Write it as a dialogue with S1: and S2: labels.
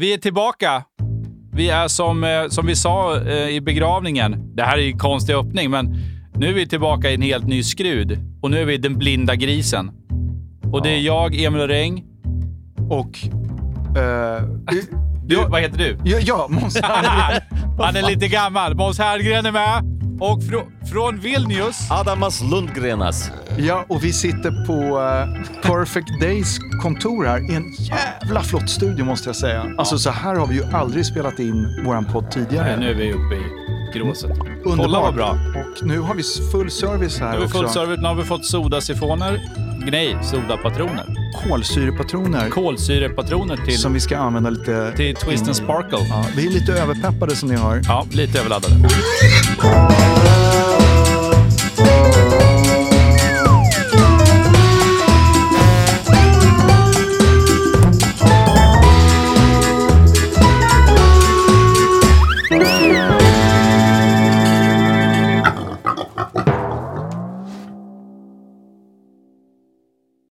S1: Vi är tillbaka. Vi är som, eh, som vi sa eh, i begravningen. Det här är ju en konstig öppning, men nu är vi tillbaka i en helt ny skrud. Och nu är vi den blinda grisen. Och det är jag, Emil Räng.
S2: Och... eh, i-
S1: Du, vad heter du?
S2: ja, ja, Måns
S1: Han, han är lite gammal. Måns Herngren är med. Och frå- från Vilnius.
S3: Adamas Lundgrenas.
S2: Ja, och vi sitter på eh, Perfect Days kontor här. En jävla flott studio måste jag säga. Alltså så här har vi ju aldrig spelat in våran podd tidigare.
S1: Nej, nu är vi uppe i gråset.
S2: Underbart.
S1: Kolla vad bra.
S2: Och nu har vi full service här
S1: Nu har vi
S2: också.
S1: fått service. Nu har vi fått sodasifoner. Nej, sodapatroner.
S2: Kolsyrepatroner
S1: Kolsyrepatroner till,
S2: som vi ska använda lite...
S1: till Twist and Sparkle.
S2: Ja, vi är lite överpeppade som ni hör.
S1: Ja, lite överladdade.